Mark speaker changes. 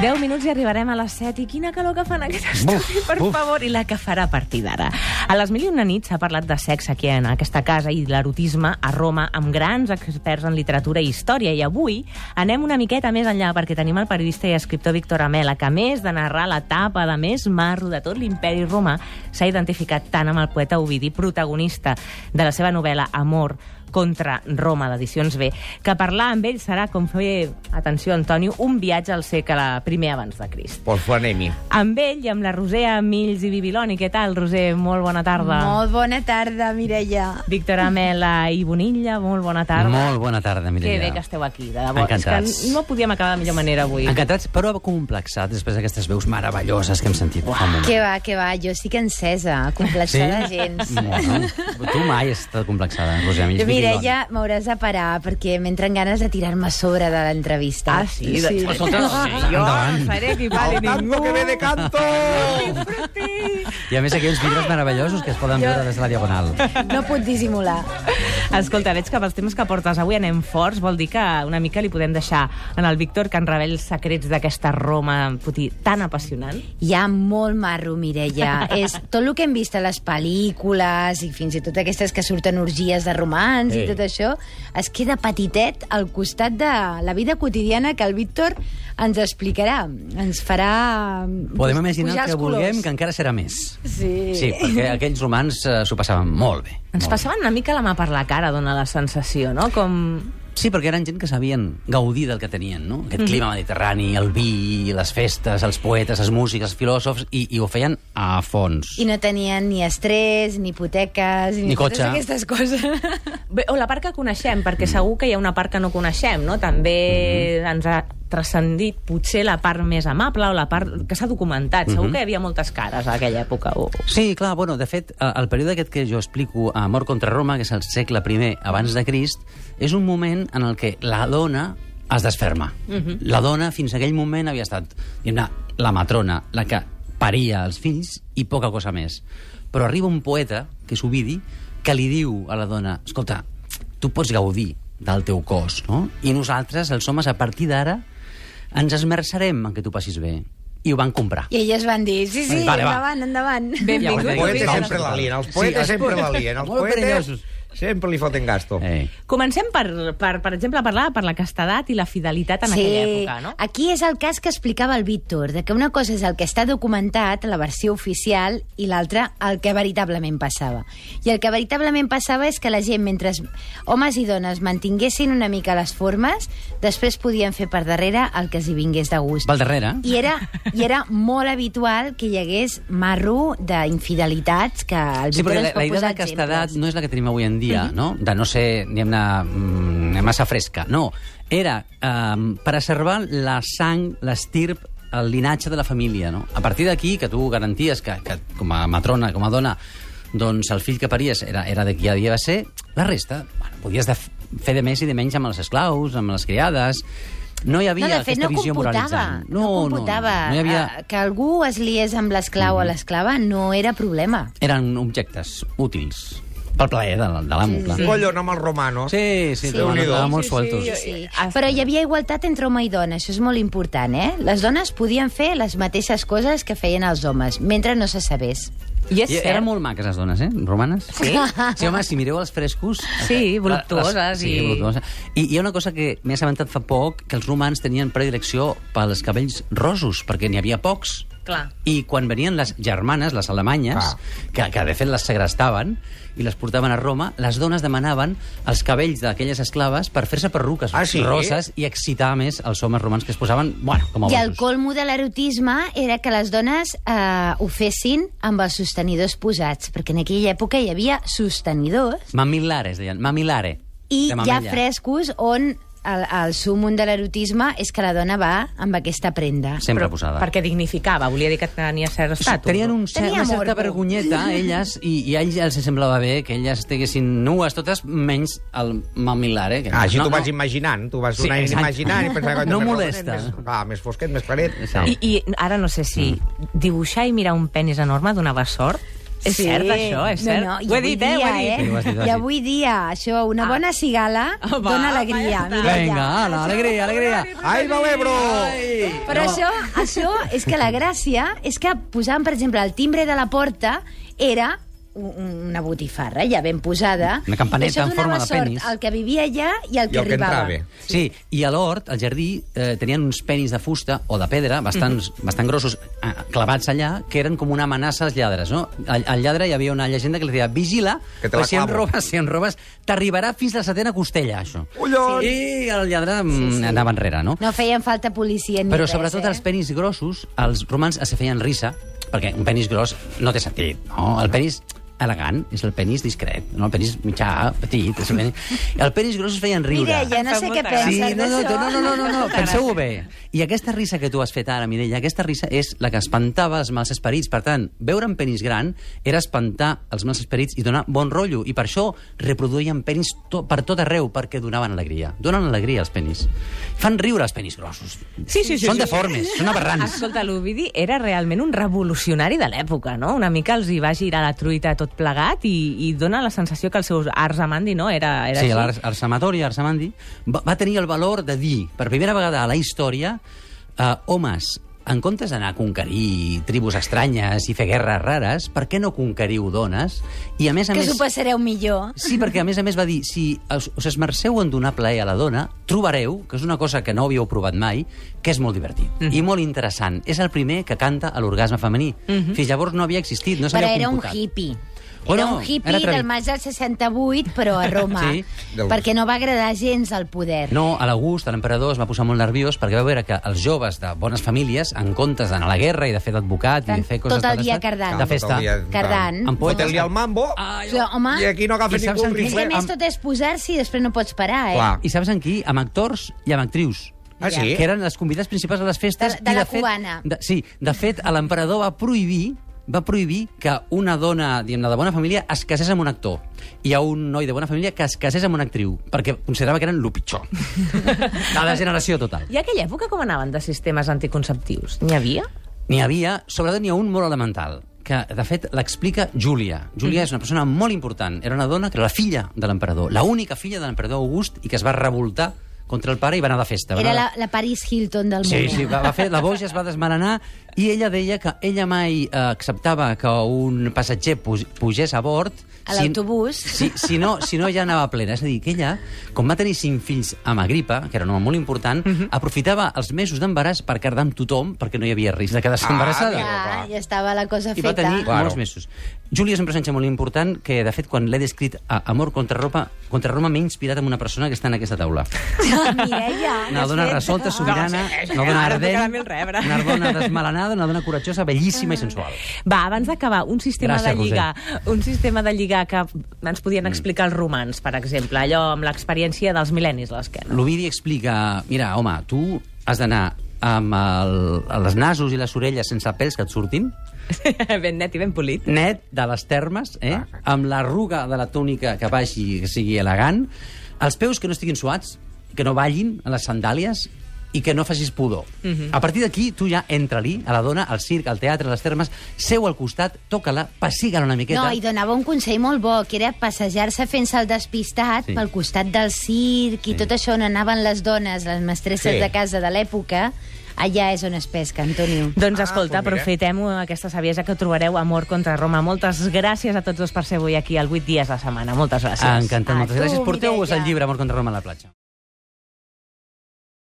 Speaker 1: 10 minuts i arribarem a les 7. I quina calor que fan aquest
Speaker 2: Buf,
Speaker 1: estudi, per
Speaker 2: buf.
Speaker 1: favor, i la que farà a partir d'ara. A les mil i una nits s'ha parlat de sexe aquí en aquesta casa i l'erotisme a Roma amb grans experts en literatura i història. I avui anem una miqueta més enllà perquè tenim el periodista i escriptor Víctor Amela, que a més de narrar l'etapa de més marro de tot l'imperi romà, s'ha identificat tant amb el poeta Ovidi, protagonista de la seva novel·la Amor, contra Roma, d'Edicions B, que parlar amb ell serà com fer, atenció, Antonio, un viatge al segle primer abans de Crist.
Speaker 2: Pues anem-hi.
Speaker 1: Amb ell i amb la Roser Mills i Bibiloni. Què tal, Roser? Molt bona tarda.
Speaker 3: Molt bona tarda, Mireia.
Speaker 1: Víctor Amela i Bonilla, molt bona tarda.
Speaker 4: Molt bona tarda,
Speaker 1: Que
Speaker 4: Mireia.
Speaker 1: bé que esteu aquí, de debò.
Speaker 4: Encantats.
Speaker 1: És que no podíem acabar de millor manera avui.
Speaker 4: Encantats, però complexats després d'aquestes veus meravelloses que hem sentit. Uah,
Speaker 3: Que va, que va, jo sí que encesa, complexada
Speaker 4: Sí?
Speaker 3: gens.
Speaker 4: Bueno, tu mai has estat complexada,
Speaker 3: Jo,
Speaker 4: Roser.
Speaker 3: Mireia, m'hauràs de parar perquè m'entren ganes de tirar-me a sobre de l'entrevista.
Speaker 1: Ah, sí? sí.
Speaker 4: Escolta, sí,
Speaker 1: jo
Speaker 4: endavant.
Speaker 1: no faré equival i ningú.
Speaker 2: que ve de canto!
Speaker 4: I a més aquí uns vidres meravellosos que es poden veure des de la Diagonal.
Speaker 3: No puc dissimular.
Speaker 1: Escolta, veig que pels temes que portes avui anem forts, vol dir que una mica li podem deixar en el Víctor que ens reveli els secrets d'aquesta Roma puti, tan apassionant.
Speaker 3: Hi ha molt marro, Mireia. És tot el que hem vist a les pel·lícules i fins i tot aquestes que surten orgies de romans
Speaker 4: Ei.
Speaker 3: i tot això, es queda petitet al costat de la vida quotidiana que el Víctor ens explicarà. Ens farà...
Speaker 4: Podem
Speaker 3: pu-
Speaker 4: imaginar
Speaker 3: pujar
Speaker 4: el que
Speaker 3: els colors.
Speaker 4: vulguem, que encara serà més.
Speaker 3: Sí.
Speaker 4: Sí, perquè aquells romans eh, s'ho passaven molt bé.
Speaker 1: Ens
Speaker 4: molt bé.
Speaker 1: passaven una mica la mà per la cara, dona la sensació, no? Com...
Speaker 4: Sí, perquè eren gent que sabien gaudir del que tenien, no? Aquest clima mediterrani, el vi, les festes, els poetes, els músics, els filòsofs, i, i ho feien a fons.
Speaker 3: I no tenien ni estrès, ni hipoteques, ni,
Speaker 4: Ni
Speaker 3: totes
Speaker 4: cotxe.
Speaker 3: aquestes coses.
Speaker 1: Bé, o la part que coneixem, perquè segur que hi ha una part que no coneixem, no? També
Speaker 4: Mhm.
Speaker 1: ens ha transcendit potser la part més amable o la part que s'ha documentat. Segur
Speaker 4: Mhm.
Speaker 1: que hi havia moltes cares a aquella època. O...
Speaker 4: Sí, clar, bueno, de fet, eh, el període aquest que jo explico a Amor contra Roma, que és el segle I abans de Crist, és un moment en el que la dona es desferma. La dona fins a aquell moment havia estat diguem-ne, la matrona, la que paria els fills i poca cosa més. Però arriba un poeta, que és Ovidi, que li diu a la dona, escolta, tu pots gaudir del teu cos, no? I nosaltres, els homes, a partir d'ara, ens esmerçarem en que tu passis bé. I ho van comprar.
Speaker 3: I elles van dir, sí, sí,
Speaker 4: Vale, va.
Speaker 3: endavant, endavant.
Speaker 1: Benvingut,
Speaker 2: Els
Speaker 4: Llavors,
Speaker 2: poetes
Speaker 4: vinga.
Speaker 2: sempre l'alien, els poetes sempre l'alien, els
Speaker 4: Molt
Speaker 2: poetes
Speaker 4: perillosos.
Speaker 2: sempre li foten gasto.
Speaker 4: Eh.
Speaker 1: Comencem, per, per, per exemple, a parlar per la castedat i la fidelitat en aquella època, no?
Speaker 3: Aquí és el cas que explicava el Víctor, de que una cosa és el que està documentat, la versió oficial, i l'altra el que veritablement passava. I el que veritablement passava és que la gent, mentre homes i dones mantinguessin una mica les formes, després podien fer per darrere el que els hi vingués de gust.
Speaker 4: Pel darrere.
Speaker 3: I era, I era molt habitual que hi hagués marro d'infidelitats que el
Speaker 4: Sí,
Speaker 3: Víctor
Speaker 4: perquè la,
Speaker 3: ens pot
Speaker 4: la idea de
Speaker 3: posar
Speaker 4: castedat
Speaker 3: exemples. Mhm.
Speaker 4: no és la que tenim avui en dia, no? De no ser, diguem-ne, mm, massa fresca. No, era eh, preservar la sang, l'estirp, el linatge de la família, no? A partir d'aquí, que tu garanties que, que com a matrona, com a dona, doncs el fill que paries era, era de qui havia de ser, la resta, bueno, podies de fer de més i de menys amb els esclaus, amb les criades... No hi
Speaker 3: No,
Speaker 4: havia
Speaker 3: de fet, no
Speaker 4: aquesta visió
Speaker 3: computava.
Speaker 4: moralitzant.
Speaker 3: No, no computava.
Speaker 4: No, no, no hi havia...
Speaker 3: Eh, Que algú es liés amb l'esclau o l'esclava no era problema.
Speaker 4: eren objectes útils pel plaer de, de l'amo, clar.
Speaker 2: Un collon amb els romanos.
Speaker 4: Sí,
Speaker 3: Sí.
Speaker 4: sí, sí. Van
Speaker 2: Déu-n'hi-do.
Speaker 4: quedar molt
Speaker 1: Sí, sí,
Speaker 4: sueltos.
Speaker 1: jo-
Speaker 3: Sí.
Speaker 1: Ah,
Speaker 3: Però hi havia igualtat entre home i dona, això és molt important, eh? Les dones podien fer les mateixes coses que feien els homes, mentre no se sabés.
Speaker 1: I és
Speaker 4: I
Speaker 1: cert.
Speaker 4: eren molt maques les dones, eh? Romanes. Sí?
Speaker 3: Ah.
Speaker 4: Sí, home, si mireu els frescos...
Speaker 1: Sí, voluptuoses
Speaker 4: Les- Sí,
Speaker 1: i-
Speaker 4: voluptuoses. I hi ha una cosa que m'he assabentat fa poc, que els romans tenien predilecció pels cabells rosos, perquè n'hi havia pocs.
Speaker 1: Clar.
Speaker 4: I quan venien les germanes, les alemanyes,
Speaker 2: Ah.
Speaker 4: que, que de fet les segrestaven i les portaven a Roma, les dones demanaven els cabells d'aquelles esclaves per fer-se perruques
Speaker 2: Ah, sí?
Speaker 4: roses i excitar més els homes romans que es posaven, bueno, com a
Speaker 3: I el
Speaker 4: bojos.
Speaker 3: colmo de l'erotisme era que les dones eh, ho fessin amb els sostenidors posats, perquè en aquella època hi havia sostenidors
Speaker 4: Mamilares, deien. Mamilare.
Speaker 3: I
Speaker 4: De
Speaker 3: hi ha
Speaker 4: mamella.
Speaker 3: frescos on el, el súmum de l'erotisme és que la dona va amb aquesta prenda.
Speaker 4: Sempre posada.
Speaker 1: Perquè dignificava, volia dir que tenia cert estatus.
Speaker 4: Tenien un cer,
Speaker 3: Tenia
Speaker 4: una certa
Speaker 3: morbo.
Speaker 4: vergonyeta, elles, i, i a ells els semblava bé que elles estiguessin nues totes, menys el mamilare. Que
Speaker 2: Ah, així t'ho vas imaginant, t'ho vas
Speaker 4: Sí,
Speaker 2: donar
Speaker 4: exacte.
Speaker 2: imaginant i pensar que...
Speaker 4: No
Speaker 2: més
Speaker 4: molesta.
Speaker 2: rodonet, Més, ah, més fosquet, més claret.
Speaker 4: Sí. Mm.
Speaker 1: I, I ara no sé si dibuixar i mirar un penis enorme donava sort. És cert, això, és cert.
Speaker 3: No, no, i
Speaker 1: ho he
Speaker 3: avui
Speaker 1: dit, eh? Ho he
Speaker 3: dia,
Speaker 1: dit.
Speaker 4: Sí, ho has dit, ho has
Speaker 3: I
Speaker 4: dit.
Speaker 3: avui dia, això, una bona cigala
Speaker 1: Ah, va,
Speaker 3: dona
Speaker 1: va,
Speaker 3: alegria.
Speaker 1: ja està. Ah,
Speaker 3: Mireia.
Speaker 4: Vinga, ala, alegria, alegria.
Speaker 2: Ai, va l'Ebro!
Speaker 3: Però això, això és que la gràcia és que posàvem, per exemple, el timbre de la porta era un- una botifarra ja ben posada.
Speaker 4: Una campaneta
Speaker 3: Això
Speaker 4: en
Speaker 3: donava
Speaker 4: forma de
Speaker 3: sort
Speaker 4: penis.
Speaker 3: al que vivia allà i al que
Speaker 2: I el que
Speaker 3: arribava.
Speaker 2: entrava.
Speaker 4: Sí, i a l'hort, al jardí, eh, tenien uns penis de fusta o de pedra bastants, bastant grossos eh, clavats allà, que eren com una amenaça als lladres, no? Al, al lladre hi havia una llegenda que li deia vigila,
Speaker 2: Que te la
Speaker 4: si em
Speaker 2: clavo."
Speaker 4: robes, si em robes, t'arribarà fins la setena costella, això.
Speaker 2: Collons!
Speaker 4: I el lladre sí, sí. anava enrere, no?
Speaker 3: No feien falta policia ni
Speaker 4: Però
Speaker 3: res,
Speaker 4: sobretot
Speaker 3: eh?
Speaker 4: els penis grossos, els romans se feien risa, perquè un penis gros no té sentit, no? El penis elegant és el penis discret, no? El penis mitjà, petit, és el penis... El penis gros es feien riure.
Speaker 3: Mireia,
Speaker 1: Em
Speaker 3: no
Speaker 1: fa
Speaker 3: sé què
Speaker 1: molta
Speaker 4: Sí,
Speaker 1: gràcia.
Speaker 3: penses
Speaker 4: no, no,
Speaker 3: d'això.
Speaker 4: no, no, no, no, no. penseu-ho bé. I aquesta risa que tu has fet ara, Mireia, aquesta risa és la que espantava els mals esperits. Per tant, veure un penis gran era espantar els mals esperits i donar bon rotllo. I per això reproduïen penis to per tot arreu, perquè donaven alegria. Donen alegria als penis. Fan riure els penis grossos.
Speaker 1: Sí, sí, sí,
Speaker 4: són
Speaker 1: sí, sí.
Speaker 4: deformes, són aberrants.
Speaker 1: Escolta, l'Ovidi era realment un revolucionari de l'època, no? Una mica els hi va girar la truita tot plegat i, i dona la sensació que els seus arts amandi, no? Era, era
Speaker 4: Sí,
Speaker 1: així.
Speaker 4: l'Ars- Arsamatoria, Arsamandi, va, va tenir el valor de dir, per primera vegada a la història, eh, homes, en comptes d'anar a conquerir tribus estranyes i fer guerres rares, per què no conqueriu dones? I a més a
Speaker 3: Que
Speaker 4: més...
Speaker 3: s'ho passareu millor.
Speaker 4: Sí, perquè a més a més va dir, si us, us esmerceu en donar plaer a la dona, trobareu, que és una cosa que no havíeu provat mai, que és molt divertit
Speaker 3: Mhm.
Speaker 4: mm. i molt interessant. És el primer que canta a l'orgasme femení. Mm -hmm. Fins llavors no havia existit, no
Speaker 3: Mhm. però
Speaker 4: s'havia
Speaker 3: era un
Speaker 4: computat.
Speaker 3: hippie.
Speaker 4: Bueno,
Speaker 3: Era un
Speaker 4: era
Speaker 3: hippie
Speaker 4: atrevit.
Speaker 3: del maig del 68, però a Roma.
Speaker 4: Sí,
Speaker 2: del-
Speaker 3: Perquè no va agradar gens al poder.
Speaker 4: No, a l'August, a l'emperador, es va posar molt nerviós perquè va veure que els joves de bones famílies, en comptes d'anar a la guerra i de fer d'advocat i
Speaker 3: Tant,
Speaker 4: de fer coses...
Speaker 3: tot el
Speaker 4: de
Speaker 3: dia
Speaker 4: l'estat,
Speaker 3: cardant.
Speaker 4: De festa.
Speaker 3: Cardant.
Speaker 4: Em pot-
Speaker 2: Foten-li el mambo
Speaker 4: Ai,
Speaker 3: Però, home,
Speaker 2: i aquí no agafa
Speaker 4: I saps
Speaker 2: ningú
Speaker 4: en
Speaker 2: un
Speaker 4: quin-
Speaker 3: és que a
Speaker 2: rifle.
Speaker 3: més tot és posar-s'hi i després no pots parar, eh?
Speaker 2: Clar.
Speaker 4: I saps en qui? Amb actors i amb actrius.
Speaker 2: Ah, sí?
Speaker 4: Que eren les convidades principals de les festes.
Speaker 3: De- de
Speaker 4: i
Speaker 3: la
Speaker 4: fet,
Speaker 3: cubana.
Speaker 4: De, sí, de fet, a l'emperador va prohibir va prohibir que una dona, diguem de bona família es casés amb un actor i a un noi de bona família que es casés amb una actriu, perquè considerava que eren lo pitjor. de la generació total.
Speaker 1: I a aquella època com anaven de sistemes anticonceptius? N'hi havia?
Speaker 4: N'hi havia, sobretot n'hi ha un molt elemental, que de fet l'explica Júlia. Júlia
Speaker 3: Mm.
Speaker 4: és una persona molt important. Era una dona que era la filla de l'emperador, la única filla de l'emperador August i que es va revoltar contra el pare i va anar de festa. Va
Speaker 3: Era la,
Speaker 4: anar de-
Speaker 3: la Paris Hilton del
Speaker 4: Sí,
Speaker 3: moment.
Speaker 4: sí, va, va fer, la boja es va desmaranar i ella deia que ella mai eh, acceptava que un passatger pu- pugés a bord...
Speaker 3: A l'autobús.
Speaker 4: Si, si, no, si no ja anava plena. És a dir, que ella, com va tenir cinc fills amb Agripa, que era un home molt important,
Speaker 3: Mhm.
Speaker 4: aprofitava els mesos d'embaràs per quedar amb tothom, perquè no hi havia risc de quedar-se
Speaker 2: Ah,
Speaker 4: embarassada.
Speaker 2: mira.
Speaker 3: Ja,
Speaker 2: va.
Speaker 3: ja estava la cosa
Speaker 4: I
Speaker 3: feta.
Speaker 4: va tenir
Speaker 2: Claro.
Speaker 4: molts mesos. Júlia és un personatge molt important que, de fet, quan l'he descrit a Amor contra, Ropa, contra Roma, m'he inspirat en una persona que està en aquesta taula.
Speaker 3: Mireia,
Speaker 1: Ah,
Speaker 4: Una dona resolta, sobirana, una
Speaker 1: ara
Speaker 4: dona
Speaker 1: em tocarà a
Speaker 4: ardent,
Speaker 1: mi el rebre. Ah.
Speaker 4: una dona desmalanada, una dona coratjosa, bellíssima i sensual.
Speaker 1: Va, abans d'acabar, un sistema
Speaker 4: Gràcies, Mm.
Speaker 1: de lligar, un sistema de lligar que ens podien explicar els romans, per exemple, allò amb l'experiència dels mil·lennis a l'esquena.
Speaker 4: L'Ovidi explica, mira, home, tu has d'anar amb el, els nasos i les orelles sense pèls que et surtin,
Speaker 1: ben net i ben polit.
Speaker 4: net de les termes, eh? amb la ruga de la túnica que vagi, que sigui elegant, els peus que no estiguin suats, que no ballin a les sandàlies i que no facis pudor. A partir d'aquí, tu ja entra-li a la dona, al circ, al teatre, a les termes, seu al costat, toca-la, pessiga-la una miqueta.
Speaker 3: No, i donava un consell molt bo, que era passejar-se fent-se el despistat
Speaker 4: Sí.
Speaker 3: pel costat del circ i tot això on anaven les dones, les mestresses
Speaker 2: Sí.
Speaker 3: de casa de l'època. Allà és on es pesca, Antonio.
Speaker 1: Doncs
Speaker 2: Ah,
Speaker 1: escolta,
Speaker 2: doncs mira.
Speaker 1: aprofitem aquesta saviesa que trobareu a Amor contra Roma. Moltes gràcies a tots dos per ser avui aquí al 8 dies de la setmana. Moltes gràcies.
Speaker 4: Encantat,
Speaker 3: A
Speaker 4: moltes
Speaker 3: tu,
Speaker 4: gràcies. Porteu-vos el
Speaker 3: Mireia.
Speaker 4: llibre Amor contra Roma a la platja.